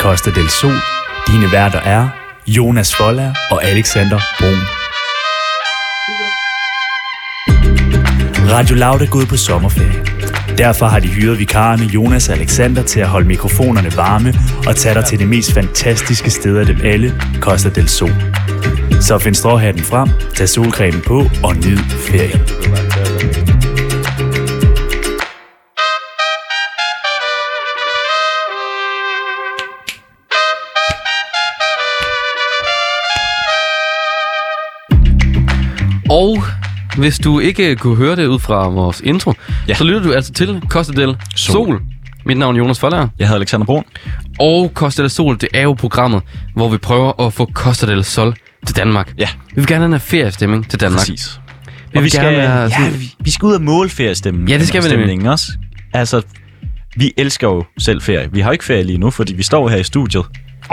Costa del Sol. Dine værter er Jonas Foller og Alexander Brun. Radio Loud er gået på sommerferie. Derfor har de hyret vikarerne Jonas og Alexander til at holde mikrofonerne varme og tage dig til det mest fantastiske sted af dem alle, Costa del Sol. Så find stråhatten frem, tag solcremen på og nyd ferien. Og hvis du ikke kunne høre det ud fra vores intro, ja. så lytter du altså til Costa del Sol. Sol. Mit navn er Jonas Forlager. Jeg hedder Alexander Brun. Og Costa del Sol, det er jo programmet, hvor vi prøver at få Costa del Sol til Danmark. Ja. Vi vil gerne have en feriestemning til Danmark. Præcis. Vi Og vi vil skal, gerne ja, være sådan- vi- vi skal ud og måle feriestemmen. Ja, det skal vi nemlig. Stemningen også. Altså, vi elsker jo selv ferie. Vi har jo ikke ferie lige nu, fordi vi står her i studiet.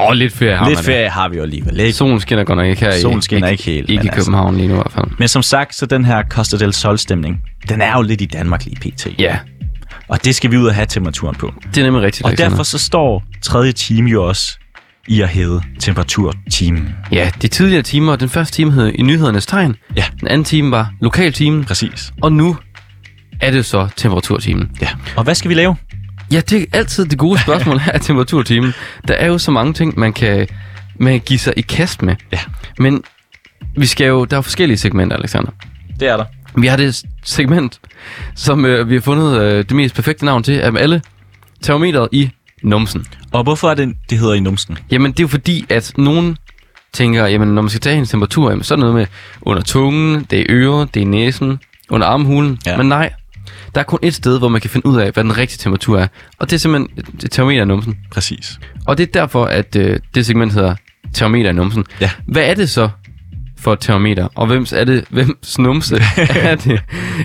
Åh, lidt ferie har Lidt man ferie har vi jo alligevel Det. ikke. Solen skinner godt nok ikke her i, Solen skinner ikke helt, Ikke i men altså- København lige nu i hvert fald. Men som sagt, så den her Costa del Sol-stemning, den er jo lidt i Danmark lige pt. Ja, Og det skal vi ud og have temperaturen på. det er nemlig rigtigt, Og Alexander. derfor så står tredje time jo også i at hedde temperaturtimen. Ja, de tidligere timer, den første time hed I nyhedernes tegn. Ja. Den anden time var lokaltimen. Præcis. Og nu er det så temperaturtimen. Ja. Og hvad skal vi lave? Ja, det er altid det gode spørgsmål her i temperaturtimen. Der er jo så mange ting, man kan, man kan give sig i kast med. Ja. Men vi skal jo, der er forskellige segmenter, Alexander. Det er der. Vi har det segment, som øh, vi har fundet øh, det mest perfekte navn til af dem alle. Termometeret i numsen. Og hvorfor er det, det hedder i numsen? Jamen, det er jo fordi, at nogen tænker, jamen, når man skal tage hendes temperatur, jamen, så er det noget med under tungen, det er øret, det er næsen, under armhulen. Ja. Ja. Men nej, der er kun et sted, hvor man kan finde ud af, hvad den rigtige temperatur er. Og det er simpelthen et- et termometer i numsen. Præcis. Og det er derfor, at øh, det segment hedder termometer i numsen. Ja. Hvad er det så for et termometer? Og hvems er det? Hvems numse er det?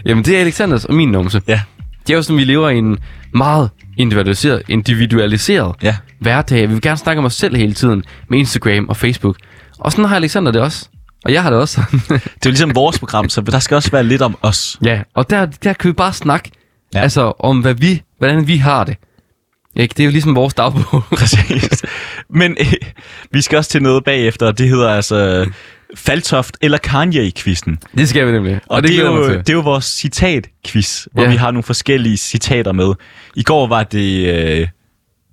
Jamen, det er Alexanders og min numse. Ja. Det er jo sådan, vi lever i en meget individualiseret, individualiseret Ja. hverdag. Vi vil gerne snakke om os selv hele tiden med Instagram og Facebook. Og sådan har Alexander det også. Og jeg har det også. Det er jo ligesom vores program, så der skal også være lidt om os. ja, og der, der kan vi bare snakke ja. Ja. altså, om, hvad vi, hvordan vi har det. Ikke? Det er jo ligesom vores dagbog. Præcis. Men øh, vi skal også til noget bagefter, og det hedder altså Faltoft eller Kanye-quizzen. det skal vi nemlig. Og, og det, er glæder jeg jo, mig til. det er jo vores citat-quiz, hvor Ja. vi har nogle forskellige citater med. I går var det, øh,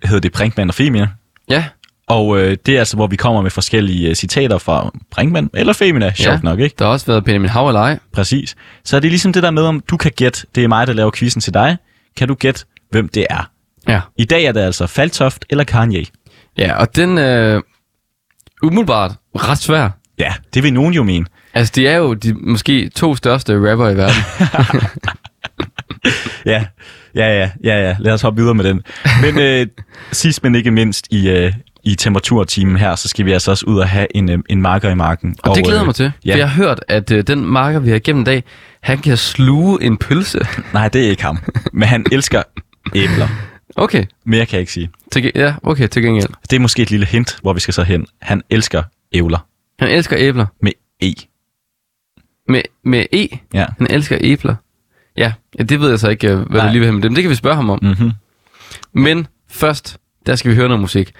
hedder det Brinkmann og Femina, Ja, og øh, det er altså, hvor vi kommer med forskellige øh, citater fra Brinkmann eller Femina, sjovt Ja. ja. nok, ikke? der har også været Benjamin Hav eller ej. Præcis. Så er det ligesom det der med, om du kan gætte, det er mig, der laver quizzen til dig, kan du gætte, hvem det er? Ja. I dag er det altså Faltoft eller Kanye. ja, og den er øh, umiddelbart ret svær. Ja, det vil nogen jo mene. Altså, de er jo de måske to største rapper i verden. Ja, ja, ja, ja, ja. Lad os hoppe videre med den. Men øh, sidst men ikke mindst i, øh, i temperaturtimen her, så skal vi altså også ud og have en, øh, en marker i marken. Og, og det glæder jeg mig til. Ja. øh, ja. For jeg har hørt, at øh, den marker, vi har igennem i dag, han kan sluge en pølse. Nej, det er ikke ham. Men han elsker æbler. okay, Mere kan jeg ikke sige. Til, ge- ja, okay, til gengæld. Det er måske et lille hint, hvor vi skal så hen. Han elsker æbler Han elsker æbler. med E. Med, med E. Ja. Han elsker æbler. Ja, ja det ved jeg så ikke, øh, hvad Nej. du lige vil have med dem. Det kan vi spørge ham om. Mm-hmm. Men først, der skal vi høre noget musik.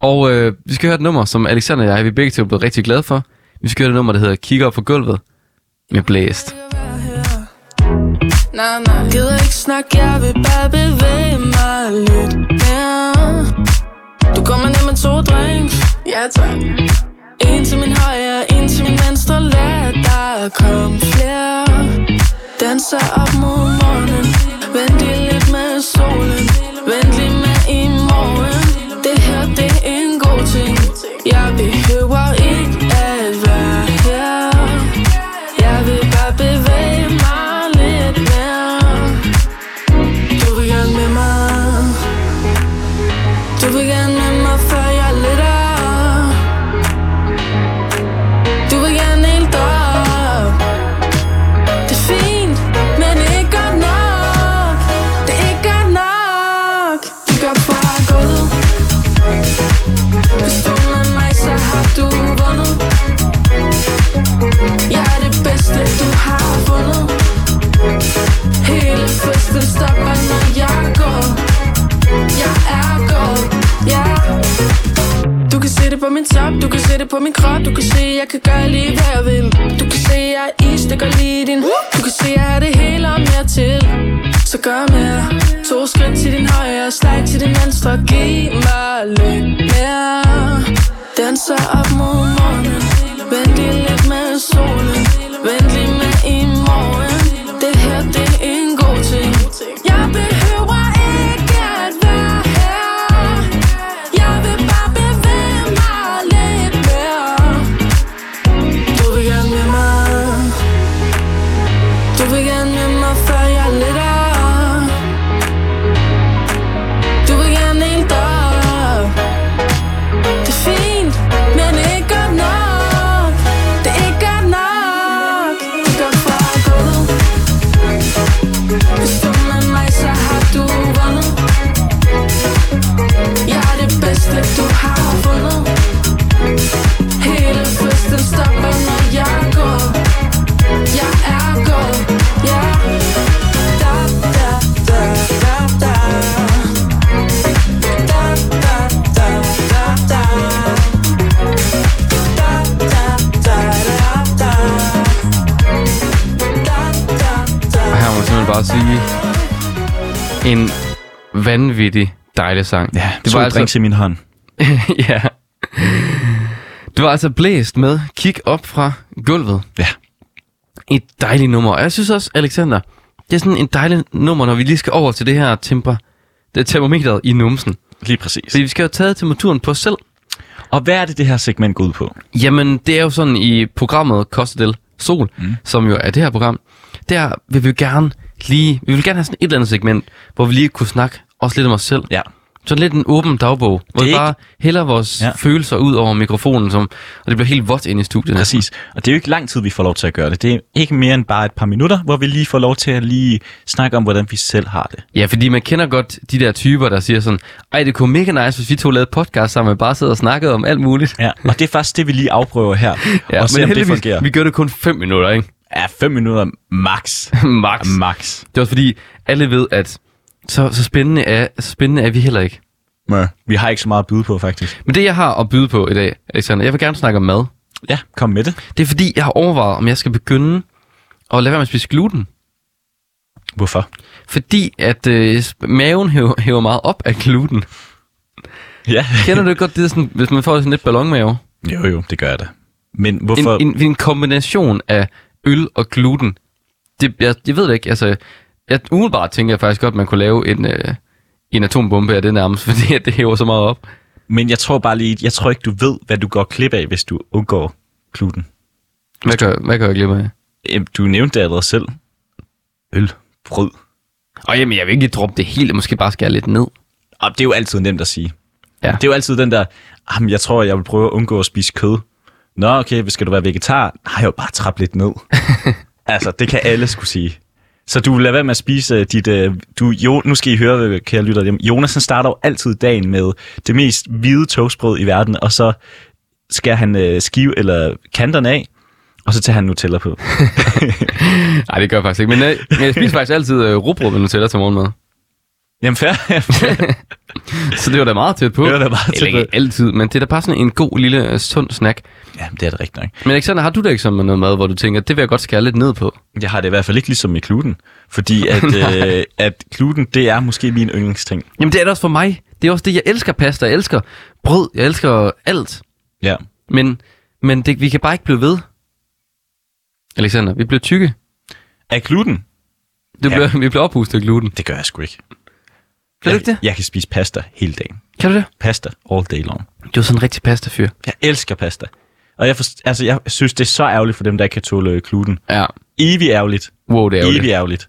Og øh, vi skal høre et nummer, som Alexander og jeg, vi er begge to blevet rigtig glade for. Vi skal høre et nummer, der hedder Kigger op på gulvet med Blæst. Nej, nej Gider ikke snakke, jeg vil bare bevæge mig lidt mere Du kommer ned med to drinks Ja, tak En til min højre, en til min venstre Lad der komme flere Danser op mod morgenen Vent lige lidt med solen Vent lige med i morgen Det her, det er en god ting Jeg behøver ikke at være her jeg vil bare bevæge mig lidt mere Du vil gerne med mig Du vil gerne med mig, før jeg lidt op Du vil gerne helt op Det er fint, men ikke godt nok Det er ikke godt nok Du går fra gulvet Hvis du er med mig, så har du min top Du kan se det på min krop Du kan se, jeg kan gøre lige hvad jeg vil Du kan se, jeg er is, det gør lige din Du kan se, jeg har det hele og mere til Så gør mere To skridt til din højre Slag til din venstre Giv mig lidt mere Danser op mod morgenen Vent lige lidt med solen Vent lige med i morgen Det her, det er en god ting Jeg behøver ikke at være her Jeg vil bare bevæge mig lidt mere Du vil gerne med mig du vil gerne med mig, før jeg letter Du vil gerne helt op Det er fint, men ikke godt nok Det er ikke godt nok Det er godt for at gå Hvis du er med mig, så har du vundet Jeg er det bedste, du har fundet Hele festen stopper, når jeg går jeg er gået, ja. Da, da, da, da, da. Da, da, da, da, da. Da, da, da, da, da. Da, da, da. Og her må jeg simpelthen bare sige, en vanvittig dejlig sang. Ja, det var to altså- drinks i min hånd. ja. Det var altså blæst med Kig op fra gulvet. Ja. Et dejligt nummer. Og jeg synes også, Alexander, det er sådan en dejlig nummer, når vi lige skal over til det her temper, det er termometeret i numsen. Lige præcis. Fordi vi skal jo have taget temperaturen på os selv. Og hvad er det, det her segment går ud på? Jamen, det er jo sådan i programmet Costa del Sol, mm. som jo er det her program, der vil vi jo gerne lige, vi vil gerne have sådan et eller andet segment, hvor vi lige kunne snakke også lidt om os selv. Ja. Sådan lidt en åben dagbog, hvor vi ikke- bare hælder vores Ja. ja. følelser ud over mikrofonen, som, og det bliver helt vådt ind i studiet. Præcis. Og det er jo ikke lang tid, vi får lov til at gøre det. Det er ikke mere end bare et par minutter, hvor vi lige får lov til at lige snakke om, hvordan vi selv har det. Ja, fordi man kender godt de der typer, der siger sådan, ej, det kunne mega nice, hvis vi to lavede podcast sammen, og bare sidder og snakkede om alt muligt. Ja. Og det er faktisk det, vi lige afprøver her. ja, og se, om det heldigvis, fungerer. vi gør det kun 5 minutter, ikke? Ja, fem minutter max. Max. max. Det er også fordi, alle ved, at så, så, spændende er, så spændende er vi heller ikke. Mø. Vi har ikke så meget at byde på, faktisk. Men det, jeg har at byde på i dag, Alexander, jeg vil gerne snakke om mad. Ja, kom med det. Det er fordi, jeg har overvejet, om jeg skal begynde at lade være med at spise gluten. Hvorfor? Fordi at øh, maven hæver, hæver meget op af gluten. Ja. Kender du ikke godt det, der sådan, hvis man får sådan lidt ballonmave? Jo, jo, det gør jeg da. Men En, hvorfor? en, en kombination af øl og gluten. Det, jeg, jeg ved det ikke, altså... Jeg, umiddelbart tænker jeg faktisk godt, at man kunne lave en, øh, en atombombe af det nærmest, fordi at det hæver så meget op. Men jeg tror bare lige, jeg tror ikke, du ved, hvad du går klip af, hvis du undgår gluten. Hvad gør, hvad gør jeg glemme af? Øhm, Du nævnte det allerede selv. Øl. Brød. Og jamen, jeg vil ikke lige droppe det hele, måske bare skære lidt ned. Og Ah, det er jo altid nemt at sige. Ja. Det er jo altid den der, jamen, jeg tror, jeg vil prøve at undgå at spise kød. Nå, okay, hvis skal du være vegetar? Har jeg jo bare trappet lidt ned. altså, det kan alle skulle sige. Så du vil lade være med at spise øh, dit... øh, Du, jo, nu skal I høre, hvad- kære lytter. Jamen, Jonasen starter jo altid dagen med det mest hvide toastbrød i verden, og så skærer han øh, skive eller kanterne af, og så tager han Nutella på. Nej, det gør jeg faktisk ikke. Men, øh, men jeg spiser faktisk altid øh, rugbrød med Nutella til morgenmad. Jamen, fair. Så det var da meget tæt på. Det var da meget Eller tæt på. ikke altid, men det er da bare sådan en god lille øh, sund snack. Jamen, det er det rigtigt nok. Men Alexander, har du da ikke sådan med noget mad, hvor du tænker, det vil jeg godt skære lidt ned på? Jeg har det i hvert fald ikke ligesom med kluten, fordi at, øh, at kluten, det er måske min yndlingsting. Jamen det er det også for mig. Det er også det, jeg elsker pasta, jeg elsker brød, jeg elsker alt. Ja. Men, men det, vi kan bare ikke blive ved. Alexander, vi bliver tykke. Er kluten? Du Ja. ja. bliver, vi bliver ophustet af gluten. Det gør jeg sgu ikke. Bliver du ikke det? Jeg, jeg kan spise pasta hele dagen. Kan du det? Pasta all day long. Du er sådan en rigtig pastafyr. Jeg elsker pasta. Og jeg, forst- altså, jeg synes, det er så ærgerligt for dem, der ikke kan tåle kluten. Ja. Evig ærgerligt. Wow, det er Evig jo ærgerligt.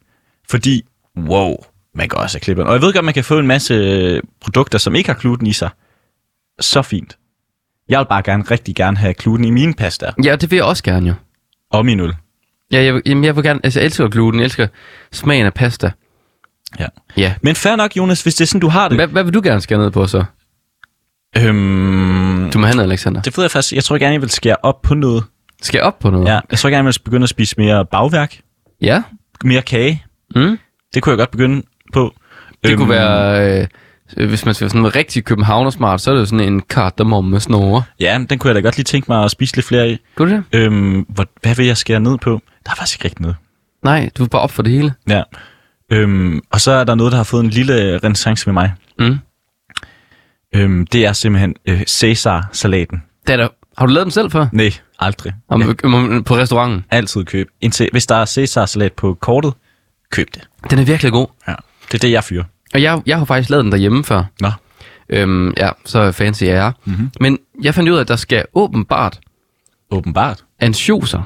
Fordi, wow, man kan også have klipperne. Og jeg ved godt, man kan få en masse øh, produkter, som ikke har kluten i sig. Så fint. Jeg vil bare gerne, rigtig gerne have kluten i mine pastaer. Ja, det vil jeg også gerne jo. Og min øl. Ja, jeg, vil- jamen, jeg vil gerne, altså jeg elsker gluten, jeg elsker smagen af pasta. Ja. Ja. Men fair nok, Jonas, hvis det er sådan, du har det. Hvad, hvad vil du gerne skære ned på så? Øhm, Du må have noget, Alexander. det ved jeg faktisk. Jeg tror gerne, jeg vil skære op på noget. Skal jeg op på noget? Ja, jeg tror gerne, jeg vil begynde at spise mere bagværk, ja? mere kage. Mm? Det kunne jeg godt begynde på. Øhm, Det kunne være øh, øh, hvis man skal være sådan rigtig københavnersmart, så er det jo sådan en kardemomme snore. Ja, men den kunne jeg da godt lige tænke mig at spise lidt flere af. Kunne du det? Øhm, hvor, hvad vil jeg skære ned på? Der er faktisk ikke rigtig noget. Nej, du er bare op for det hele. Ja. Øhm, og så er der noget, der har fået en lille øh, renaissance med mig. Mm. Øhm, det er simpelthen øh, Cæsar-salaten. Det er da, har du lavet den selv før? Nej, aldrig. Om, Ja. ja. På restauranten? Altid køb. Indtil, hvis der er Cæsar-salat på kortet, køb det. Den er virkelig god. Ja. Det er det, jeg fyrer. Og jeg, jeg har faktisk lavet den derhjemme før. Nå. Øhm, ja, så fancy jeg er. Mhm. Mm-hmm. Men jeg fandt ud af, at der skal åbenbart Åbenbart. ansjoser.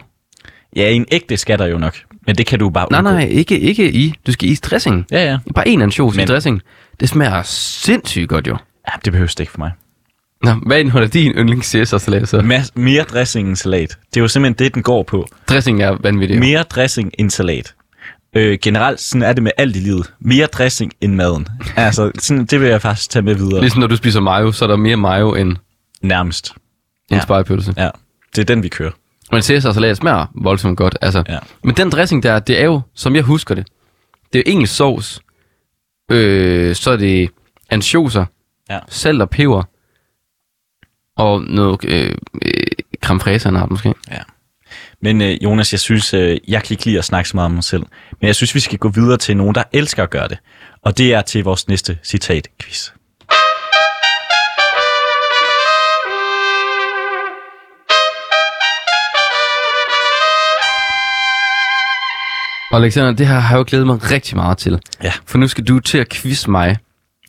Ja, en ægte skal der jo nok. Men det kan du bare Nej, undgå. nej, ikke, ikke i. Du skal i dressing. Ja, ja. Bare en ansjos i Men- dressing. Det smager sindssygt godt jo. ja det behøves det ikke for mig. Nå, hvad indeholder din yndlings Caesar-salat så? Mas- mere dressing end salat. Det er jo simpelthen det, den går på. Dressing er vanvittig. jo. Mere dressing end salat. Øh, generelt, sådan er det med alt i livet. Mere dressing end maden. Altså, sådan, det vil jeg faktisk tage med videre. Ligesom når du spiser mayo, så er der mere mayo end, Nærmest. end Ja. spejepølse. Ja, det er den, vi kører. Men Caesar-salat smager voldsomt godt. Altså. Ja. Men den dressing der, det er jo, som jeg husker det, det er jo engelsk sovs, øh, så er det ansjoser, Ja. salt og peber, og noget øh, øh, creme fraise, han har måske. Men øh, Jonas, jeg synes, øh, jeg kan ikke lide at snakke så meget om mig selv. Men jeg synes, vi skal gå videre til nogen, der elsker at gøre det. Og det er til vores næste citat-quiz. Og Alexander, det her har jeg jo glædet mig rigtig meget til. Ja. For nu skal du til at quizze mig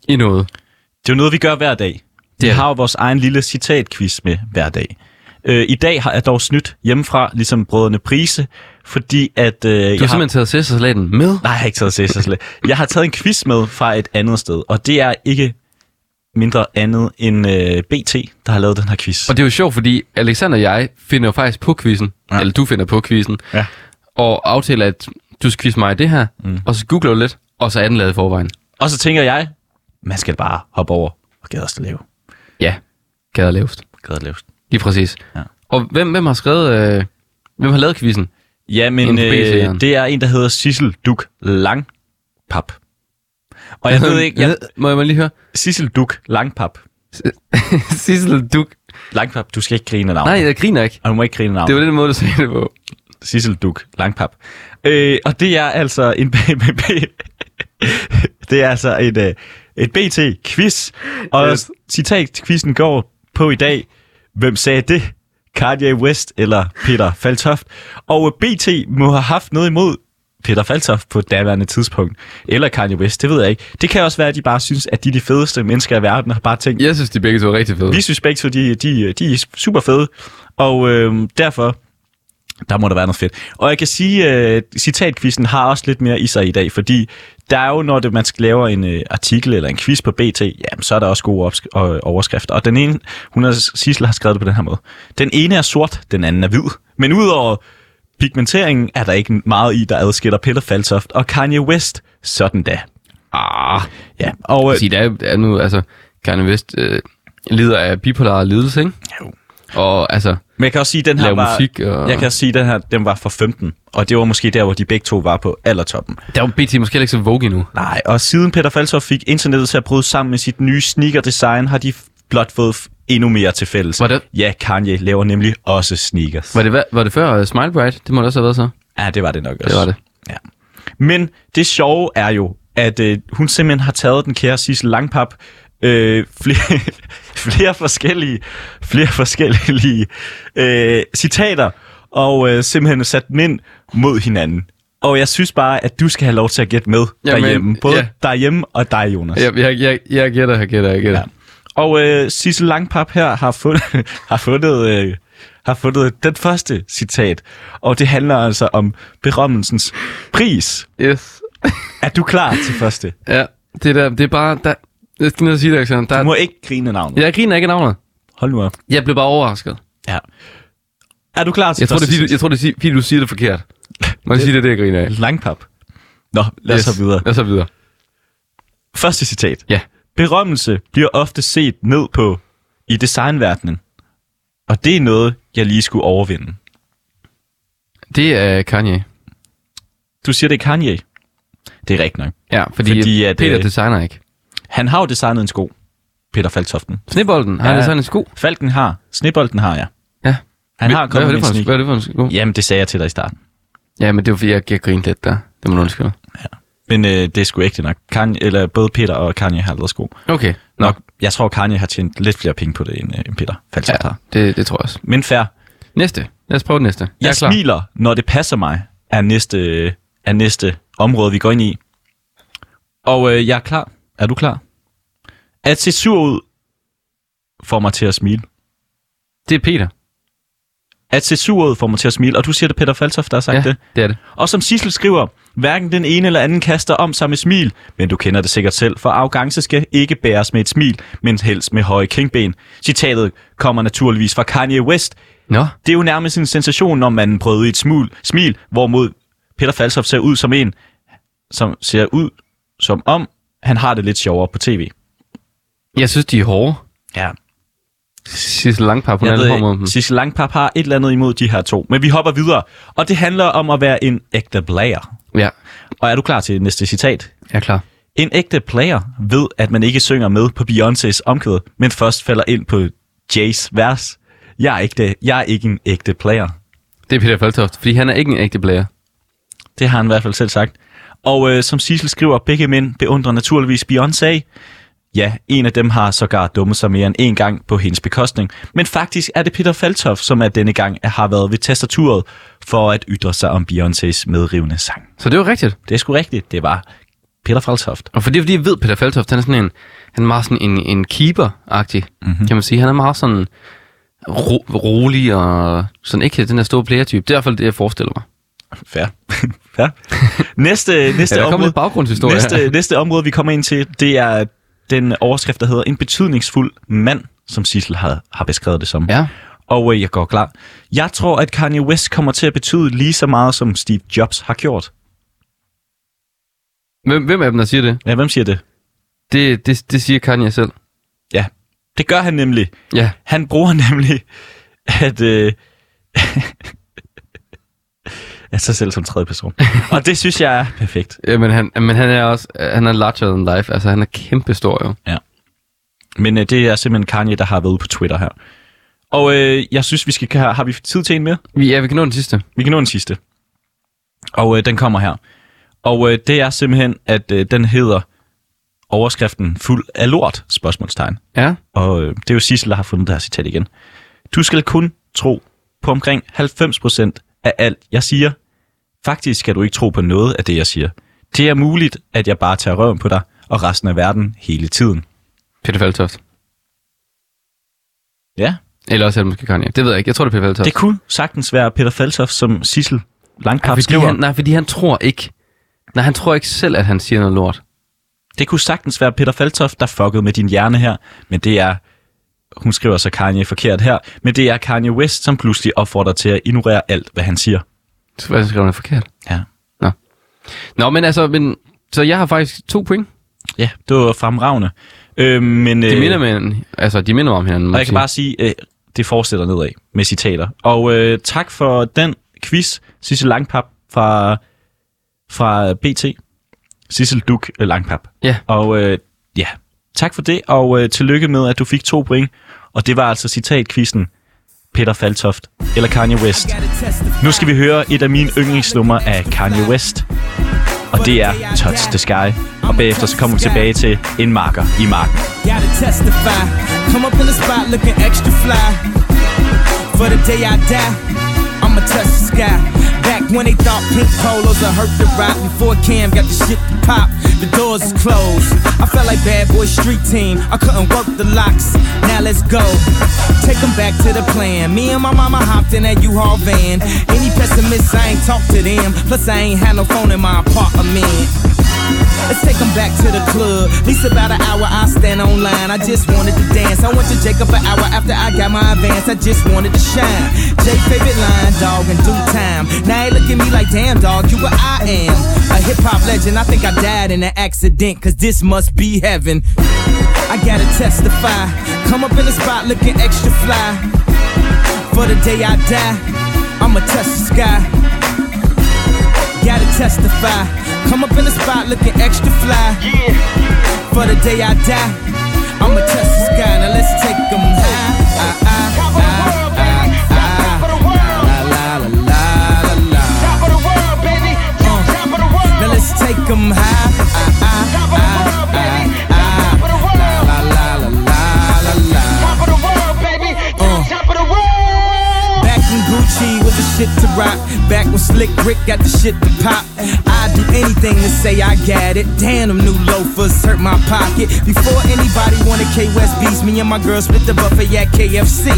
i noget. Det er jo noget, vi gør hver dag. Vi er det. har jo vores egen lille citat-quiz med hver dag. Øh, I dag har jeg dog snydt hjemmefra, ligesom brødrene Prise, fordi at... Øh, du Du har simpelthen taget Caesar-salaten med. Nej, jeg har ikke taget Cæsar Jeg har taget en quiz med fra et andet sted, og det er ikke mindre andet end øh, BT, der har lavet den her quiz. Og det er jo sjovt, fordi Alexander og jeg finder jo faktisk på quizzen, ja. Ja. eller du finder på quizzen, Ja. og aftaler, at du skal quizze mig i det her, mm. og så googler du lidt, og så er den lavet i forvejen. Og så tænker jeg, man skal bare hoppe over og gade os lave. Ja, gader lavest. Gade lavest. Lige præcis. Ja. Og hvem, hvem har skrevet, øh, hvem har lavet quizzen? Ja, men Inden for BT'eren. øh, det er en, der hedder Sissel Duk Langpap. Og jeg ved ikke, jeg, Må jeg må lige høre? Sissel Duk Langpap. Sissel Duk. Langpap, du skal ikke grine af navnet. Nej, jeg griner ikke. Og du må ikke grine af navnet. Det var den måde, du sagde det på. Sissel Duk Langpap. Øh, og det er altså en BBB. det er altså et, øh, et BT-quiz. Og yes. citat-quizzen går på i dag. Hvem sagde det? Kanye West eller Peter Faltoft? Og øh, BT må have haft noget imod Peter Faltoft på et daværende tidspunkt. Eller Kanye West, det ved jeg ikke. Det kan også være, at de bare synes, at de er de fedeste mennesker i verden, og har bare tænkt, Jeg synes, de begge to er rigtig fede. vi synes begge to, de, de, de er super fede, og øh, derfor, der må der være noget fedt. Og jeg kan sige, at øh, citatkvisten har også lidt mere i sig i dag, fordi der er jo, når det, man laver en øh, artikel eller en quiz på BT, jamen, så er der også gode opsk- og, overskrifter. Og den ene, hun har, Sissel har skrevet det på den her måde. Den ene er sort, den anden er hvid. Men udover pigmenteringen er der ikke meget i, der adskiller Peter Falsoft og Kanye West. Sådan da. Ah, Ja, og, øh, sige, der er, er nu, altså, Kanye West øh, lider af bipolar lidelse, ikke? Jo. Og altså, Men jeg kan også sige, at den her Lave var, musik og- jeg kan også sige, at den her den var for 15, og det var måske der, hvor de begge to var på allertoppen. der er jo BT måske heller ikke så vogue endnu. Nej, og siden Peter Falshoff fik internettet til at bryde sammen med sit nye sneaker-design, har de f- blot fået f- endnu mere til fælles. Var det- Ja, Kanye laver nemlig også sneakers. Var det, hva- var det før uh, Smile Bright? Det må det også have været så. Ja, det var det nok også. Det var det. Ja. Men det sjove er jo, at øh, hun simpelthen har taget den kære Sissel Langpap øh, flere, flere forskellige, flere forskellige øh, citater og øh, simpelthen sat dem ind mod hinanden. Og jeg synes bare, at du skal have lov til at gætte med Jamen, derhjemme. Både ja. derhjemme og dig, Jonas. Jeg, jeg, jeg, jeg gætter, jeg gætter, jeg gætter. Ja. Og øh, Sissel Langpap her har fundet, har, fundet, øh, har fundet den første citat. Og det handler altså om berømmelsens pris. Yes. Er du klar til første? Ja, det der, det er bare, der, jeg skal ned og sige det, Alexander. Der, Du må ikke grine af navnet. Jeg griner ikke af navnet. Hold nu op. Jeg blev bare overrasket. Ja. Er du klar til Jeg tror, det er, første fordi, du- jeg tror, det er, fordi du siger det forkert. Man siger, det er det, jeg griner af. citat? Langpap. Nå, lad os yes. videre. Lad os hoppe videre. Første citat. Ja. Berømmelse bliver ofte set ned på i designverdenen. Og det er noget, jeg lige skulle overvinde. Det er Kanye. Du siger, det er Kanye. Det er rigtigt nok. Ja, fordi, Fordi at, Peter øh, designer ikke. Han har jo designet en sko, Peter Faltoften. Snebolden, har Ja. ja. det sådan en sko? Falken har, snebolden har jeg. Ja. Han har hvad, kommet er med det en for en, sneak. hvad er det for en sko? Ja. Jamen, det sagde jeg til dig i starten. ja, men det var fordi, jeg, jeg grinede lidt der. Det må du undskylde. Men øh, det er sgu ægte nok. Kanye, eller både Peter og Kanye har lavet sko. Okay, nå. Nok, jeg tror, Kanye har tjent lidt flere penge på det, end, øh, end Peter Faltoft Ja, ja. har. det, det tror jeg også. Men fair. Næste. Lad os prøve den næste. Jeg er klar. smiler, når det passer mig, er næste, er næste område, vi går ind i. Og øh, jeg er klar. Er du klar? At se sur ud får mig til at smile. Det er Peter. At se sur ud får mig til at smile. Og du siger det, Peter Faltoft, der har sagt ja, ja. det. det er det. Og som Sissel skriver, hverken den ene eller anden kaster om sig med smil, men du kender det sikkert selv, for arrogance skal ikke bæres med et smil, men helst med høje kringben. Citatet kommer naturligvis fra Kanye West. Nå, Det er jo nærmest en sensation, når man prøvede et smul, smil, hvorimod Peter Falsoff ser ud som en, som ser ud som om, han har det lidt sjovere på tv. jeg synes, de er hårde. Ja, Sissel Langpap, hun er jeg lidt hård ved mod dem. ikke, Sissel Langpap har et eller andet imod de her to, men vi hopper videre. Og det handler om at være en ægte player. Ja, Og er du klar til næste citat? jeg er klar. En ægte player ved, at man ikke synger med på Beyoncé's omkvæd, men først falder ind på Jays vers. Jeg er, ikke det. jeg er ikke en ægte player. Det er Peter Faltoft, fordi han er ikke en ægte player. Det har han i hvert fald selv sagt. Og øh, som Sissel skriver, begge mænd beundrer naturligvis Beyoncé. Ja, en af dem har sågar dummet sig mere end en gang på hendes bekostning. Men faktisk er det Peter Faltoff, som er denne gang har været ved tastaturet for at ytre sig om Beyoncés medrivende sang. Så det er jo rigtigt. Det er sgu rigtigt, det var Peter Faltoft. Og for det er fordi, jeg ved, Peter Faltoft, han er sådan en, han er meget sådan en, en keeper-agtig, Mhm. mm-hmm. kan man sige. Han er meget sådan ro- rolig og sådan ikke den der store player-type. Det er i hvert fald det, jeg forestiller mig. Fair. Fair. Næste, næste, Ja, der kom område, lidt baggrundshistorie næste, her. næste område, vi kommer ind til, det er den overskrift, der hedder En betydningsfuld mand, som Sissel har, har beskrevet det som. Ja. Og øh, jeg går klar. Jeg tror, at Kanye West kommer til at betyde lige så meget, som Steve Jobs har gjort. Hvem, hvem af dem, der siger det? Ja, hvem siger det? Det, det, det siger Kanye selv. Ja, det gør han nemlig. Ja, Han bruger nemlig, at... Øh, jeg sig selv som tredje person. Og det synes jeg er perfekt. ja men, han, men han er også, han er larger than life. Altså, han er kæmpestor jo. Men øh, det er simpelthen Kanye, der har været ude på Twitter her. Og øh, jeg synes, vi skal... Har, har vi tid til en mere? Vi- Ja, vi kan nå den sidste. Vi kan nå den sidste. Og øh, den kommer her. Og øh, det er simpelthen, at øh, den hedder overskriften fuld af lort, spørgsmålstegn. Ja. Og øh, det er jo Sissel, der har fundet det her citat igen. Du skal kun tro på omkring 90% af alt, jeg siger. Faktisk skal du ikke tro på noget af det, jeg siger. Det er muligt, at jeg bare tager røven på dig og resten af verden hele tiden. Peter Faltoft. Ja, Eller også er det måske Kanye. Det ved jeg ikke. Jeg tror, det er Peter Faltoft. det kunne sagtens være Peter Faltoff, som Sissel Langkamp Ah, fordi skriver. han, nej, fordi han tror ikke. Nej, han tror ikke selv, at han siger noget lort. Det kunne sagtens være Peter Faltoft, der fuckede med din hjerne her, men det er, hun skriver så Kanye forkert her, men det er Kanye West, som pludselig opfordrer til at ignorere alt, hvad han siger. Så hvad skrev han forkert? Ja. Nå, men altså, men, så jeg har faktisk to point. Ja, det var fremragende. Øh, men, De minder, med, en- altså, de minder om hinanden. må og jeg kan sige. bare sige, øh, det fortsætter nedad med citater. Og øh, tak for den quiz, Sissel Langpap fra, fra BT. Sissel Duk øh, Langpap. Ja. Og øh, ja, tak for det, og øh, tillykke med, at du fik to point. Og det var altså citatkvisten Peter Faltoft eller Kanye West. Nu skal vi høre et af mine yndlingsnumre af Kanye West. Og det er Touch the Sky. Og bagefter så kommer vi tilbage til En Marker i Marken. gotta testify. Come up in the spot looking extra fly. For the day I die, I'ma touch the sky. Back when they thought pink polos would hurt the rock. Before Cam got the shit to pop, the doors is closed. I felt like bad boy street team. I couldn't work the locks. Now let's go. Take 'em back to the plan. Me and my mama hopped in that U-Haul van. Any pessimists, I ain't talk to them. Plus I ain't had no phone in my apartment. Let's take 'em back to the club. At least about an hour I stand online. I just wanted to dance. I went to Jacob an hour after I got my advance. I just wanted to shine. Jake favorite line, dog, in due time. Now they look at me like, damn, dog, you what I am. A hip hop legend. I think I died in an accident, cause this must be heaven. I gotta testify. Come up in the spot looking extra fly. For the day I die, I'ma touch the sky gotta testify. Come up in the spot looking extra fly. For the day I die, I'ma touch the sky. Now let's take 'em high. Ah, ah, ah, ah, ah. La, la, la, la, la, la. Now let's take 'em high. Ah, ah, ah, ah, ah. La, la, la, la, la, la. Back when Gucci was the shit to rock. Back when Slick Rick got the shit to pop. I'd do anything to say I got it. Damn, them new loafers hurt my pocket. Before anybody wanted K West beats, me and my girl split the buffet at KFC.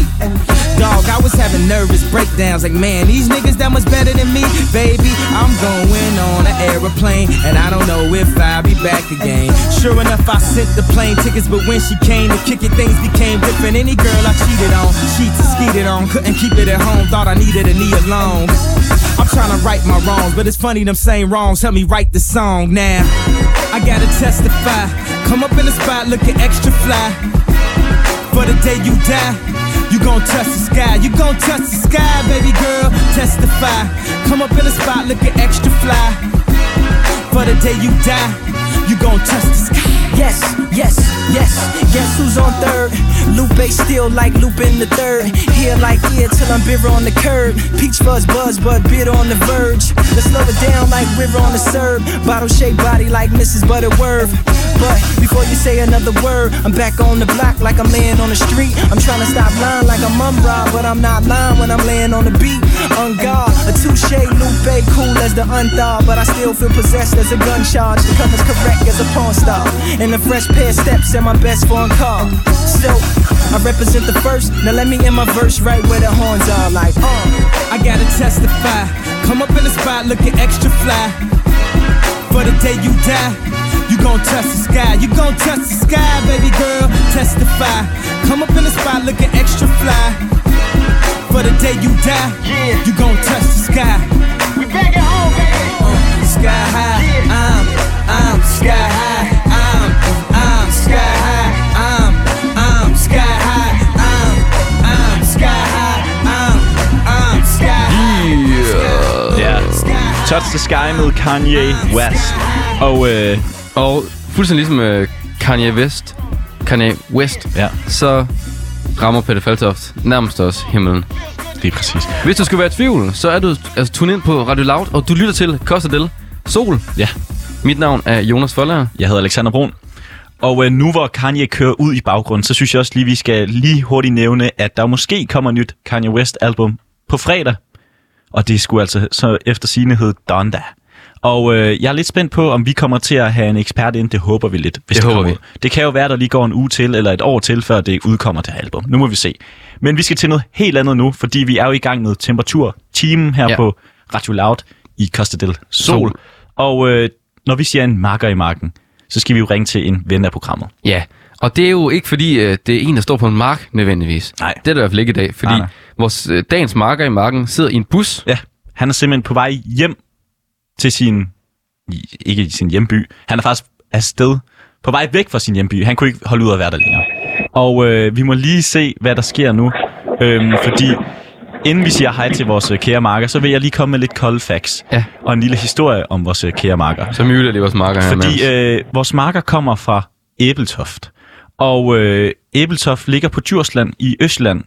Dog, I was having nervous breakdowns like, man, these niggas that much better than me. Baby, I'm going on an airplane, and I don't know if I'll be back again. Sure enough, I sent the plane tickets, but when she came to kick it, things became different. Any girl I cheated on, sheets and skeeted on, couldn't keep it at home, thought I needed a knee alone. I'm trying to right my wrongs, but it's funny them same wrongs help me write the song now. I gotta testify, come up in the spot looking extra fly. For the day you die, you gon' touch the sky, you gon' touch the sky, baby girl. Testify, come up in the spot looking extra fly. For the day you die, you gon' touch the sky. Yes, yes, yes. Guess who's on third? Lupe still like Lupe in the third. Here like here till I'm bitter on the curb. Peach fuzz buzz, but bitter on the verge. Let's slow it down like we're on the serve. Bottle shaped body like Mrs. Butterworth. But before you say another word, I'm back on the block like I'm laying on the street. I'm trying to stop lying like I'm umbrella, but I'm not lying when I'm laying on the beat. On guard, a touche Lupe, cool as the unthaw, but I still feel possessed as a gun charge. The cover's correct as a porn star, and a fresh pair of steps and my best phone call. So I represent the first. Now let me end my verse right where the horns are, like uh. I gotta testify. Come up in the spot looking extra fly. For the day you die, you gon' touch the sky. You gon' touch the sky, baby girl. Testify. Come up in the spot looking extra fly. For the day you die, you gon' touch the sky. Uh, sky high, I'm, I'm sky high. I'm, I'm sky high. I'm, I'm sky high. I'm, I'm sky high. I'm, I'm sky high. Ja. Touch the Sky med Kanye West. Og øh, Og fuldstændig ligesom øh, Kanye West, Kanye West, ja, så rammer Peter Faltoft nærmest også himlen. det er præcis. Hvis du skulle være i tvivl, så er du altså tune ind på Radio Loud, og du lytter til Costa del Sol. Ja, Mit navn er Jonas Folger. jeg hedder Alexander Brun. Og øh, nu hvor Kanye kører ud i baggrunden, så synes jeg også lige, vi skal lige hurtigt nævne, at der måske kommer nyt Kanye West-album på fredag. Og det skulle altså så efter sigende hedde Donda. Og øh, jeg er lidt spændt på, om vi kommer til at have en ekspert ind. Det håber vi lidt. Hvis Det håber kommer vi. ud. Det kan jo være, der lige går en uge til, eller et år til, før det udkommer det her album. Nu må vi se. Men vi skal til noget helt andet nu, fordi vi er jo i gang med temperaturtimen her Ja. ja. på Radio Loud i Costa del Sol. Sol. Sol. Og øh, når vi siger en marker i marken, så skal vi jo ringe til en ven af programmet. Ja, og det er jo ikke fordi, øh, det er en, der står på en mark nødvendigvis. Nej. Det er der i hvert fald ikke i dag, fordi Nej, nej. vores øh, dagens marker i marken sidder i en bus. Ja, han er simpelthen på vej hjem til sin, i- ikke i sin hjemby, han er faktisk afsted på vej væk fra sin hjemby. Han kunne ikke holde ud at være der længere. Og øh, vi må lige se, hvad der sker nu, øhm, fordi inden vi siger hej til vores øh, kære marker, så vil jeg lige komme med lidt kolde facts Ja. og en lille historie om vores øh, kære marker. Så myler lige vores marker her Fordi med. øh, vores marker kommer fra Æbeltoft. Og øh, Æbeltoft ligger på Djursland i Østland.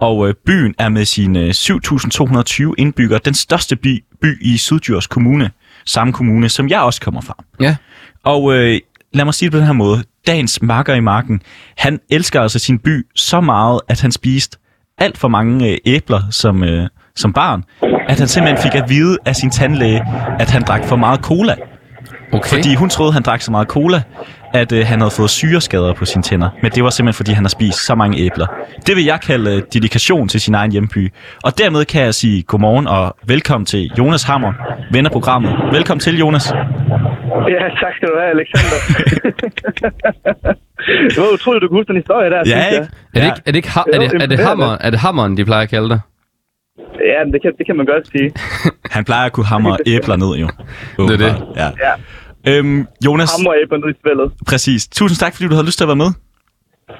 Og øh, byen er med sine 7.220 indbyggere den største by, by i Syddjurs Kommune. Samme kommune, som jeg også kommer fra. Ja, Og øh, lad mig sige det på den her måde. Dagens makker i marken, han elsker altså sin by så meget, at han spiste alt for mange øh, æbler som, øh, som barn. At han simpelthen fik at vide af sin tandlæge, at han drak for meget cola. okay. Fordi hun troede, han drak så meget cola, at øh, han havde fået syreskader på sine tænder. Men det var simpelthen, fordi han har spist så mange æbler. Det vil jeg kalde øh, dedikation til sin egen hjemby. Og dermed kan jeg sige godmorgen og velkommen til Jonas Hammer, ven af programmet. Velkommen til, Jonas. Ja, tak skal du have, Alexander. det var utroligt, du kunne huske den historie der. synes jeg. ikke? er, det ikke, er, det ikke, ha- er, det, er, det hammeren, er det hammeren, de plejer at kalde dig? Ja, men det kan, det kan man godt sige. Han plejer at kunne hamre æbler ned, jo. er det. Åbenbart, Ja. Ja. Øhm, Jonas, Ham og æbler ned i spillet. præcis. Tusind tak, fordi du havde lyst til at være med.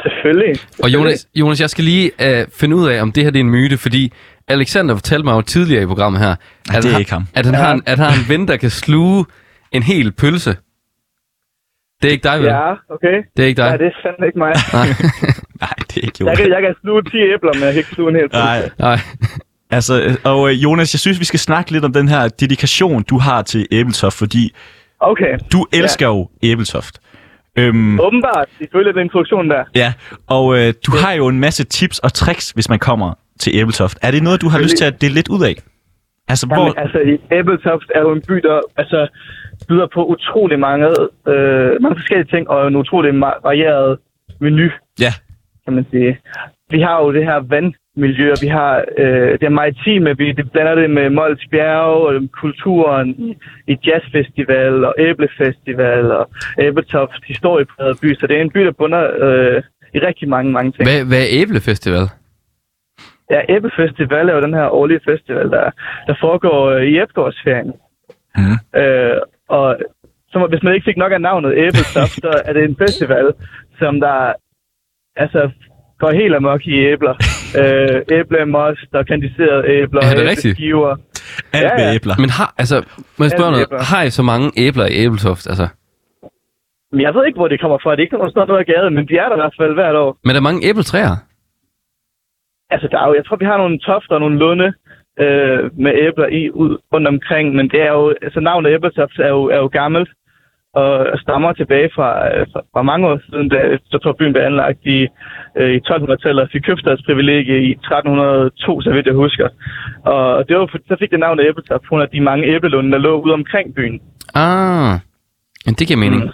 Selvfølgelig. Og Jonas, Jonas jeg skal lige øh, finde ud af, om det her det er en myte, fordi Alexander fortalte mig jo tidligere i programmet her, at, det er han, ikke ham. at, han, har en, at han har en ven, der kan sluge en hel pølse. Det er ikke dig, vel? Ja, okay. Det er ikke dig. Nej, det er fandme ikke mig. Nej. Nej, det er ikke Jeg Jonas. kan, jeg kan sluge 10 æbler, men jeg kan ikke sluge en hel pølse. Nej, Nej. altså, og øh, Jonas, jeg synes, vi skal snakke lidt om den her dedikation, du har til Æbletoft, fordi Okay, du elsker ja. jo Æbletoft. Øhm, åbenbart, ifølge den introduktion der. Ja, og øh, du har jo en masse tips og tricks, hvis man kommer til Æbletoft. Er det noget, du har lyst til at dele lidt ud af? Altså, hvor... Jamen, altså, i Æbeltoft er jo en by, der altså, byder på utrolig mange, øh, mange forskellige ting, og en utrolig ma- varieret menu, Ja, kan man sige. Vi har jo det her vandmiljø, og vi har øh, det maritime, vi det blander det med Mols Bjerge, og kulturen i, i jazzfestival, og æblefestival, og Æbeltoft historiepræget by, så det er en by, der bunder øh, i rigtig mange, mange ting. Hvad, hvad er æblefestival? Ja, Æbbefestival er jo den her årlige festival, der, der foregår øh, i efterårsferien. Mm. Øh, og så, må- hvis man ikke fik nok af navnet Æblestof, så er det en festival, som der altså, går helt amok i æbler. øh, æblemost og kandiserede æbler, Er det rigtigt? æbleskiver. alt Ja, med ja. æbler. Men har, altså, må jeg spørge Alle noget? æbler. Har I så mange æbler i æbletoft, altså? Men jeg ved ikke, hvor det kommer fra. Det er ikke nogen sådan noget af gaden, men de er der i hvert fald hvert år. Men er der mange æbletræer? Altså, der er jo, jeg tror, vi har nogle tofter og nogle lunde øh, med æbler i ud, rundt omkring, men det er jo, altså navnet æbletoft er jo, er jo gammelt og stammer tilbage fra, øh, fra, fra mange år siden, da jeg tror, byen blev anlagt i, øh, i 1200-tallet og fik købstadsprivilegie i 1302, så vidt jeg husker. Og det var, for- så fik det navnet æbletoft på grund af de mange æblelunde, der lå ude omkring byen. Ah, men det giver mening. Mm.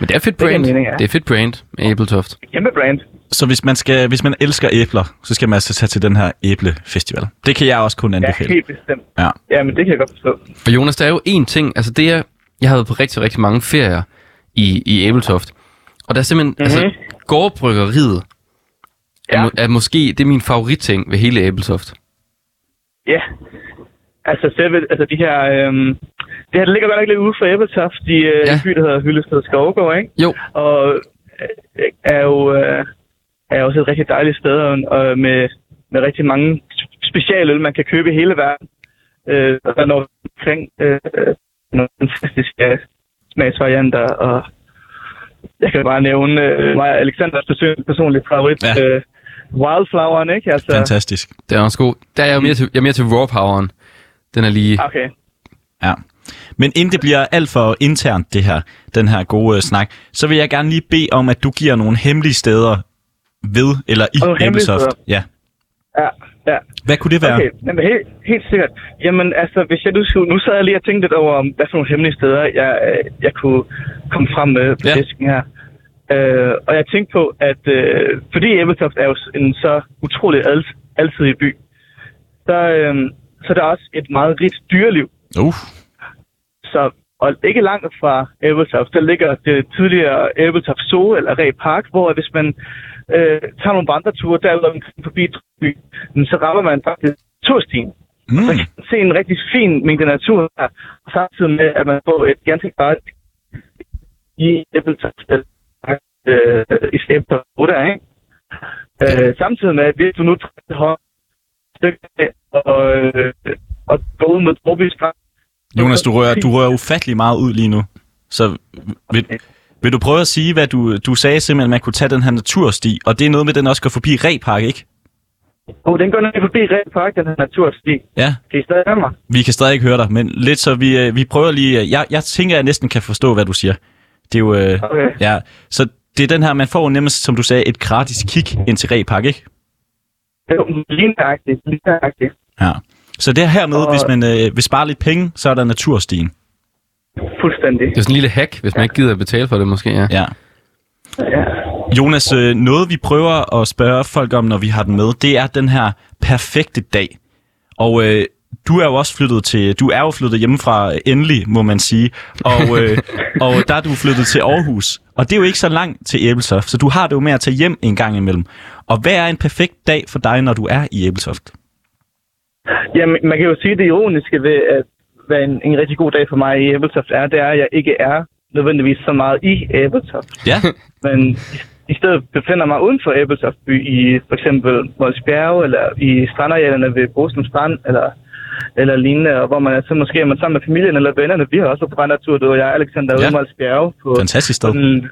Men det er fedt giver brand. Det, mening, ja. det er fedt brand med æbletoft. Kæmpe brand. Så hvis man, skal, hvis man elsker æbler, så skal man altså tage til den her æblefestival. Det kan jeg også kun Ja, anbefale. helt bestemt. Ja. Ja, men det kan jeg godt forstå. For Jonas, der er jo én ting, altså det er, jeg har været på rigtig, rigtig mange ferier i, i Æbeltoft, og der er simpelthen, mm-hmm. altså, gårdbryggeriet ja. er, Ja. må, er måske, det er min favoritting ved hele Æbeltoft. Ja. Altså, selve, altså de her... Øhm, det her det ligger godt nok lidt ude for Æbeltoft, de øh, Ja. ja. by, der hedder Hyllested Skovgård, ikke? Jo, Og øh, er jo, øh, er også et rigtig dejligt sted, og, og med, med rigtig mange specialøl, man kan købe i hele verden. Øh, og der når omkring øh, nogle fantastiske smagsvarianter, og jeg kan bare nævne øh, mig og Alexanders person- personlige favorit, Ja. ja. øh, Wildfloweren, ikke? Altså, Fantastisk. det er også god. Der er jeg jo mere til, jeg er mere til raw poweren. Den er lige, Okay. Ja. Men inden det bliver alt for internt, det her, den her gode øh, snak, så vil jeg gerne lige bede om, at du giver nogle hemmelige steder ved eller i Og nogle hemmelige Æblesoft. steder. Ja. Ja, ja. Hvad kunne det være? Okay, jamen, helt, helt sikkert. Jamen altså, hvis jeg nu, skulle- nu sad jeg lige og tænkte lidt over, om hvad for nogle hemmelige steder, jeg, øh, jeg kunne komme frem med på Ja. ja. disken her. Øh, og jeg tænkte på, at øh, fordi Ebeltoft er jo s- en så utrolig al- alsidig by, så, øh, så er der også et meget rigt dyreliv. Uh, Så, og ikke langt fra Ebeltoft, der ligger det tidligere Ebeltoft Zoo eller Ræ Park, hvor hvis man øh, tager nogle vandreture derude omkring forbi by, så rammer man faktisk turstien. mm, Man kan se en rigtig fin mængde natur her, og samtidig med, at man får et ganske godt i Æbeltoft, øh, i Æbeltoft 8, ikke? Øh, samtidig med, at hvis du nu tager hånd stykke af og, øh, og går ud mod Torby Strand, Jonas, du rører, du rører ufattelig meget ud lige nu. Så vil, vil du prøve at sige, hvad du, du sagde simpelthen, at man kunne tage den her natursti, og det er noget med, at den også går forbi Repark, ikke? og den går ned forbi Red Park, den her natursti. Ja, Kan I stadig høre mig? vi kan stadig ikke høre dig, men lidt så vi, øh, vi prøver lige... øh, Jeg, jeg tænker, at jeg næsten kan forstå, hvad du siger. Det er jo... Øh, Okay. ja, så det er den her, man får jo nemmest, som du sagde, et gratis kig ind til Repark, ikke? Det er jo lignagtigt, lignagtigt. Ja. Så det er hermed, Og- hvis man øh, vil spare lidt penge, så er der naturstien. Fuldstændig. det er sådan en lille hack, hvis man ikke gider at betale for det måske, ja. Ja. Ja. Jonas, øh, noget vi prøver at spørge folk om, når vi har den med, det er den her perfekte dag. Og øh, du er jo også flyttet til, du er jo flyttet hjemmefra øh, endelig, må man sige. Og, øh, og der er du flyttet til Aarhus. Og det er jo ikke så langt til Æbelsoft, så du har det jo med at tage hjem en gang imellem. Og hvad er en perfekt dag for dig, når du er i Æbelsoft? Jamen, man kan jo sige, at det ironiske ved, at hvad en, en rigtig god dag for mig i Æbeltoft er, det er, at jeg ikke er nødvendigvis så meget i Æbeltoft, Ja, men i- i stedet befinder mig uden for Æbeltoft by i for eksempel Mols Bjerge, eller i strandarealerne ved Brostrøm Strand, eller eller lignende, og hvor man så måske er man sammen med familien eller vennerne. Vi har også været på vandretur, du og jeg, Alexander, Ja. ja. ude bjerge på, Fantastisk sted. på, den,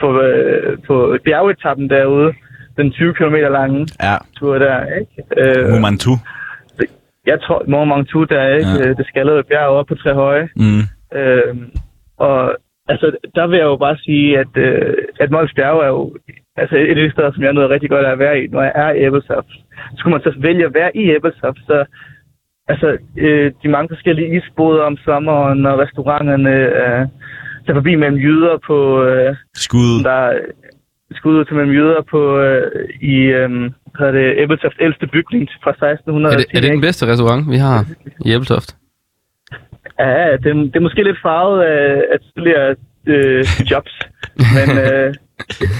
på, øh, på bjergetappen derude, den 20 km lange Ja, tur der, ikke? Øh, Mumantu. jeg tror, Mont Ventoux, der er ikke Ja. ja. det skaldede bjerg oppe på Trehøje. Mm. Øh, og altså, der vil jeg jo bare sige, at, øh, at Mols Bjerge er jo altså, et af de steder, som jeg nyder rigtig godt af at være i, når jeg er i Ebelsoft. Skulle man så vælge at være i Ebelsoft, så altså, øh, de mange forskellige isboder om sommeren, og restauranterne, øh, der forbi mellem jyder på... Øh, Skud. der er skud ud til mellem jøder på, øh, i øh, hvad hedder det, Ebbeltofts ældste bygning fra 1600. Er det, er det den bedste restaurant, vi har i Æbeltoft? Ja, det, er- det er måske lidt farvet af, af tidligere øh, jobs, men øh,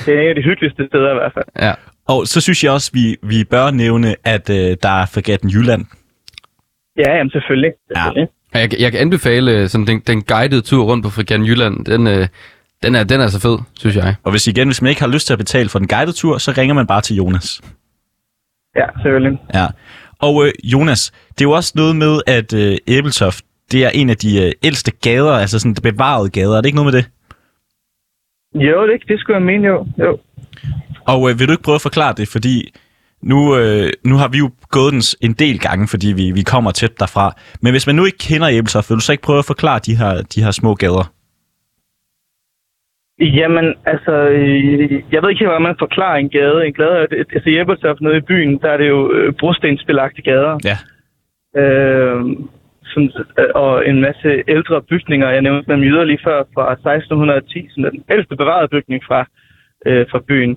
det er en af de hyggeligste steder i hvert fald. Ja. Og så synes jeg også, vi, vi bør nævne, at øh, der er Fregatten Jylland. Ja, jamen selvfølgelig. selvfølgelig. Og Jeg, jeg kan anbefale øh, sådan den, den guidede tur rundt på Frikan Jylland. Den, øh, den, er, den er så fed, synes jeg. Og hvis igen, hvis man ikke har lyst til at betale for den guidede tur, så ringer man bare til Jonas. Ja, ja selvfølgelig. Ja. Og øh, Jonas, det er jo også noget med, at øh, Æbeltoft, det er en af de øh, ældste gader, altså sådan bevarede gader. Er det ikke noget med det? Jo, det, det skulle jeg mene jo. jo. Og øh, vil du ikke prøve at forklare det, fordi nu, øh, nu har vi jo gået den s- en del gange, fordi vi, vi kommer tæt derfra. Men hvis man nu ikke kender Æbeltoft, vil du så ikke prøve at forklare de her, de her små gader? Jamen, altså, øh, jeg ved ikke helt, hvordan man forklarer en gade. En gade, er- det- altså i Ebeltoft nede i byen, der er det jo øh, brostensbelagte gader. Ja. øh, som, og en masse ældre bygninger. Jeg nævnte dem jyder lige før fra 1610, som er den ældste bevarede bygning fra, øh, fra byen.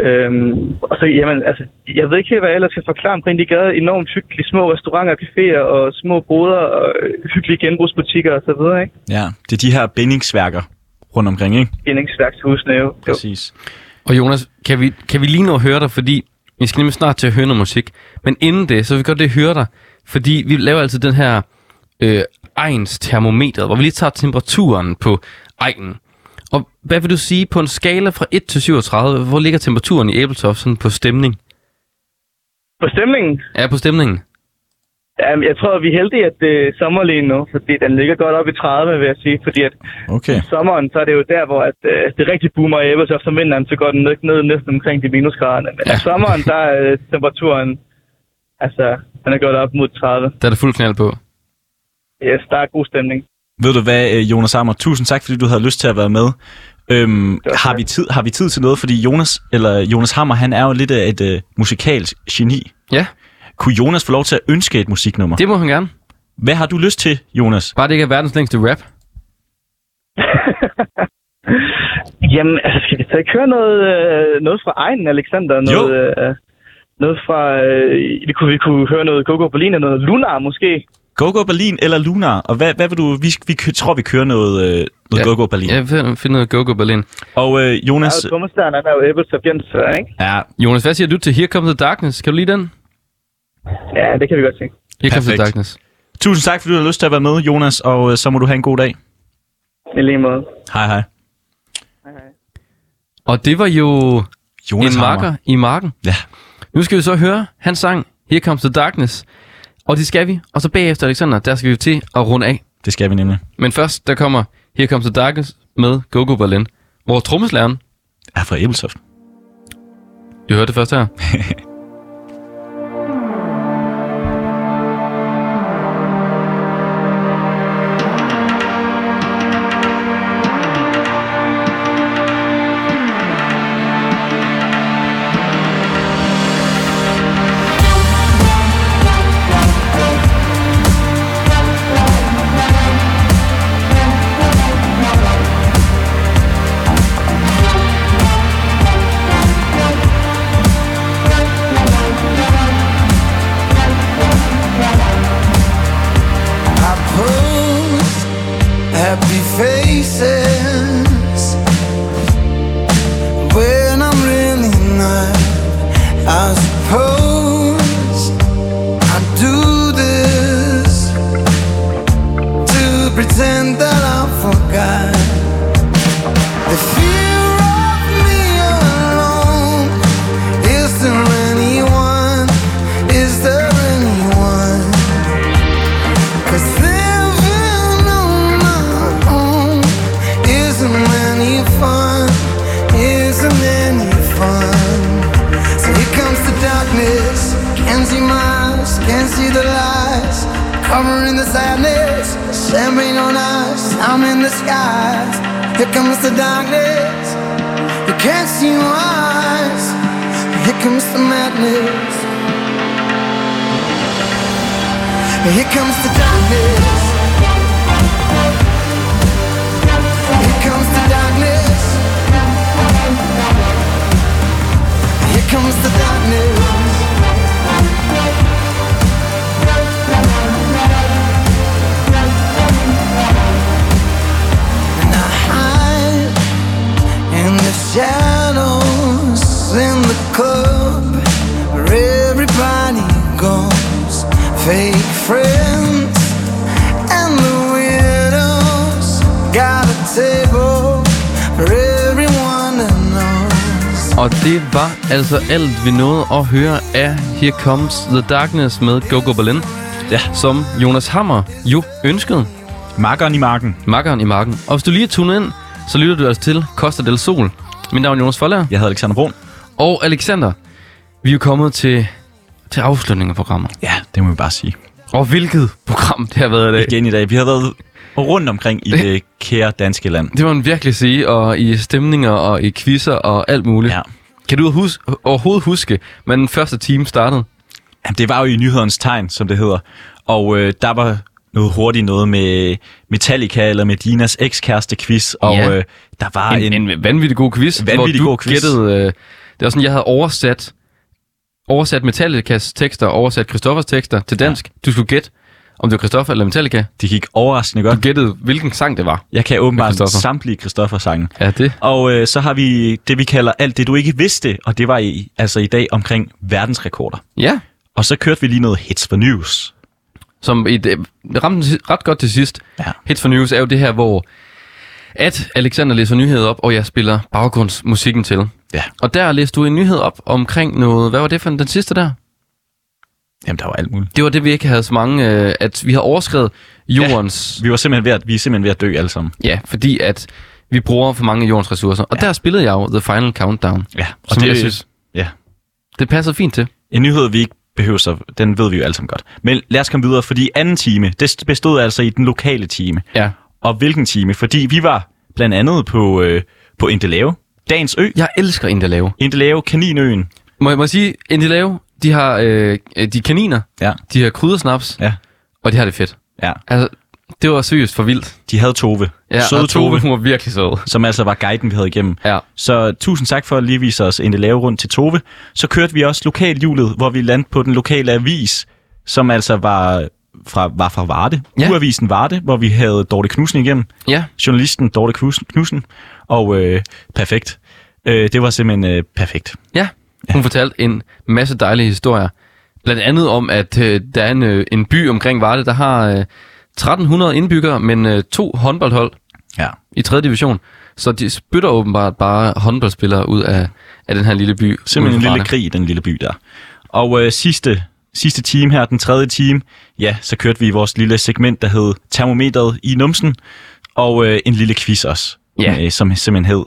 Øhm, og så, jamen, altså, jeg ved ikke helt, hvad jeg ellers skal forklare omkring de gader. Enormt hyggelige små restauranter, caféer og små boder og øh, hyggelige genbrugsbutikker og så videre, ikke? Ja, det er de her bindingsværker rundt omkring, ikke? Genningsværkshusene jo. jo. Præcis. Og Jonas, kan vi, kan vi lige nå at høre dig, fordi vi skal nemlig snart til at høre noget musik. Men inden det, så vil vi godt det høre dig, fordi vi laver altid den her øh, ejens termometer, hvor vi lige tager temperaturen på egen. Og hvad vil du sige på en skala fra 1 til 37, hvor ligger temperaturen i Æbeltoft sådan på stemning? På stemningen, Ja, på stemningen. jamen, jeg tror, vi er heldige, at det er sommer lige nu, fordi den ligger godt op i 30, vil jeg sige, fordi at Okay. sommeren, så er det jo der, hvor at, øh, det rigtig boomer i Ebeltoft. Som vinteren, så går den ned, ned næsten omkring de minusgraderne. Men Ja. ja. sommeren, der er øh, temperaturen, altså, den er gået op mod 30. Der er det fuld knald på. Yes, der er god stemning. Ved du hvad, øh, Jonas Ammer, tusind tak, fordi du havde lyst til at være med. Øhm, var har, så vi tid, har vi tid til noget? Fordi Jonas, eller Jonas Hammer, han er jo lidt af et øh, musikalsk geni. Ja, Kunne Jonas få lov til at ønske et musiknummer? Det... det må han gerne. Hvad har du lyst til, Jonas? Bare det ikke er verdens længste rap. Jamen, altså, skal vi så ikke høre noget, øh, noget fra egen, Alexander? Noget, øh, noget fra, øh, vi, kunne, vi kunne høre noget Coco Berlin og noget Lunar måske. Go Go Berlin eller Lunar? Og hvad, hvad vil du... Vi, vi kø- tror, vi kører noget, øh, noget Ja. Go Go Berlin. Jeg finder, finder noget go-go Berlin. Og øh, Der Jonas... er jo Thomasdaren, han er jo Ebeltoft Jens, ikke? Ja, Jonas, hvad siger du til Here Comes the Darkness? Kan du lide den? Ja, det kan vi godt se. Here Comes the Perfekt. Darkness. tusind tak, fordi du har lyst til at være med, Jonas. Og øh, så må du have en god dag. I lige måde. Hej, hej. Og det var jo Jonas en Hammer. marker i marken. Ja. Nu skal vi så høre hans sang, Here Comes the Darkness. Og det skal vi. Og så bagefter, Alexander, der skal vi jo til at runde af. Det skal vi nemlig. Men først, der kommer Here Comes the Darkness med Gogo Berlin. Vores trommeslærer, Er fra Æbeltoft. du hørte det først her. Thank eyes, can't see the lights, covering the sadness. Champagne on ice, I'm in the skies. Here comes the darkness, you can't see my eyes. Here comes the madness. Here comes the darkness. Here comes the darkness. Here comes the darkness. And I hide in the shadows in the club where everybody goes. Fake friends and the widows got a table for everyone to knows. Og det var altså alt, vi nåede at høre af Here Comes the Darkness med Gogo Berlin. Ja. Som Jonas Hammer jo ønskede. Makkeren i marken. Makkeren i marken. Og hvis du lige er tunet ind, så lytter du altså til Costa del Sol. Mit navn er Jonas Forlager. Jeg hedder Alexander Brun. Og Alexander, vi er jo kommet til, til afslutningen af programmet. Ja, det må vi bare sige. Og hvilket program det har været i dag. Igen i dag. Vi har været rundt omkring i det kære danske land. Det må man virkelig sige, og i stemninger og i quizzer og alt muligt. Ja. Kan du hus- overhovedet huske, hvordan den første time startede? Jamen, det var jo i nyhedernes tegn, som det hedder. Og øh, der var noget hurtigt noget med Metallica eller Medinas ekskæreste quiz. Og Ja. øh, der var En, en, en vanvittig god quiz, vanvittig hvor du god quiz. gættede... Øh, det var sådan, jeg havde oversat, oversat Metallicas tekster og oversat Christoffers tekster til dansk. Ja. Du skulle gætte, om det var Christoffer eller Metallica. Det gik overraskende Du godt. gættede, hvilken sang det var. Jeg kan åbenbart Christoffer. samtlige Christoffer-sange. Ja, det. Og øh, så har vi det, vi kalder alt det, du ikke vidste. Og det var i, altså i dag omkring verdensrekorder. Ja, Og så kørte vi lige noget hits for news. som et, øh, ramte den si- ret godt til sidst. Ja. Hits for News er jo det her, hvor at Alexander læser nyheder op, og jeg spiller baggrundsmusikken til. Ja. Og der læste du en nyhed op omkring noget... Hvad var det for en, den sidste der? Jamen, der var alt muligt. Det var det, vi ikke havde så mange... Øh, at vi havde overskrevet jordens... Vi var simpelthen ved at, vi er simpelthen ved at dø alle sammen. Ja. ja, fordi at vi bruger for mange af jordens ressourcer. Og ja. der spillede jeg jo The Final Countdown. Ja, og Som det, jeg synes- Ja. Det passede fint til. En nyhed, vi ikke behøver så, den ved vi jo alle sammen godt. Men lad os komme videre, fordi anden time, det bestod altså i den lokale time. Ja. Og hvilken time? Fordi vi var blandt andet på, øh, på Indelave, Dagens Ø, Jeg elsker Indelave. Indelave, Kaninøen. Må jeg, må jeg sige, Indelave, de har øh, øh, de er kaniner, Ja. de har kryddersnaps, Ja. og de har det fedt. ja. Altså, det var seriøst for vildt. De havde Tove. Ja, Søde og Tove, hun var virkelig sød. som altså var guiden, vi havde igennem. Ja. Så tusind tak for at lige vise os en lave rundt til Tove. Så kørte vi også lokalhjulet, hvor vi landte på den lokale avis, som altså var fra, var fra Varde. Ja. Ja. Uavisen Varde, hvor vi havde Dorte Knudsen igennem. Ja, Journalisten Dorte Knudsen. Knudsen. Og øh, perfekt. Øh, det var simpelthen øh, perfekt. ja. Hun fortalte en masse dejlige historier. Blandt andet om, at øh, der er en, øh, en by omkring Varde, der har øh, 1300 indbyggere, men øh, to håndboldhold Ja. i 3. division. Så de spytter åbenbart bare håndboldspillere ud af, af den her lille by. Simpelthen ude en fra lille Varde. krig i den lille by der. Og øh, sidste, sidste time her, den tredje time, ja, så kørte vi i vores lille segment, der hed Termometeret i numsen, og øh, en lille quiz også, Ja. øh, som simpelthen hed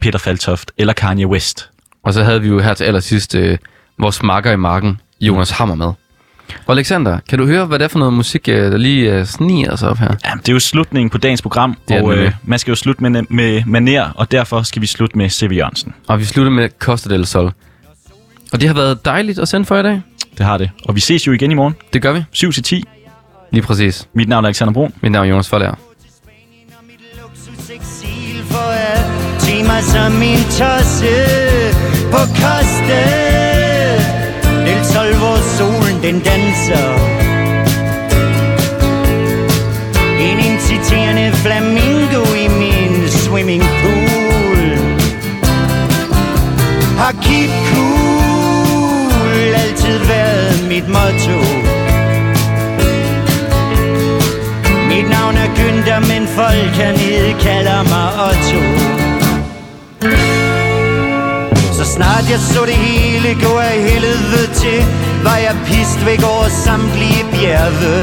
Peter Faltoft eller Kanye West. Og så havde vi jo her til allersidst øh, vores makker i marken, Jonas Hammer med. Og Alexander, kan du høre, hvad det er for noget musik, øh, der lige øh, sniger sig op her? Jamen, det er jo slutningen på dagens program, Det er og det øh, nemlig. man skal jo slutte med, med maner, og derfor skal vi slutte med C.V. Jørgensen. Og vi slutter med Costa del Sol. Og det har været dejligt at sende for i dag. Det har det. Og vi ses jo igen i morgen, Det gør vi. 7-10. Lige præcis. Mit navn er Alexander Brun. Mit navn er Jonas Forlærer. Eksil for at se mig som min tosse på koste. Del sol, hvor solen den danser. En inciterende flamingo i min swimming pool. Har keep cool altid været mit motto. Mit navn er Günther, men folk hernede kalder mig Otto Så snart jeg så det hele gå af helvede til Var jeg pist væk over samtlige bjerge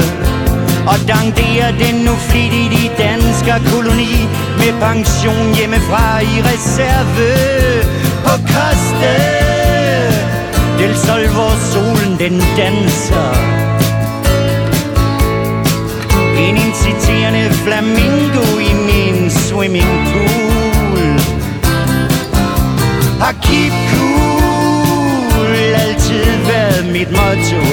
Og dangderer den nu flittigt i dansker koloni Med pension hjemmefra i reserve På koste Del sol, hvor solen den danser En inciterende flamingo i min swimmingpool Har keep cool altid været mit motto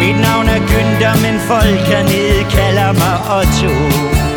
Mit navn er Günther, men folk hernede kalder mig Otto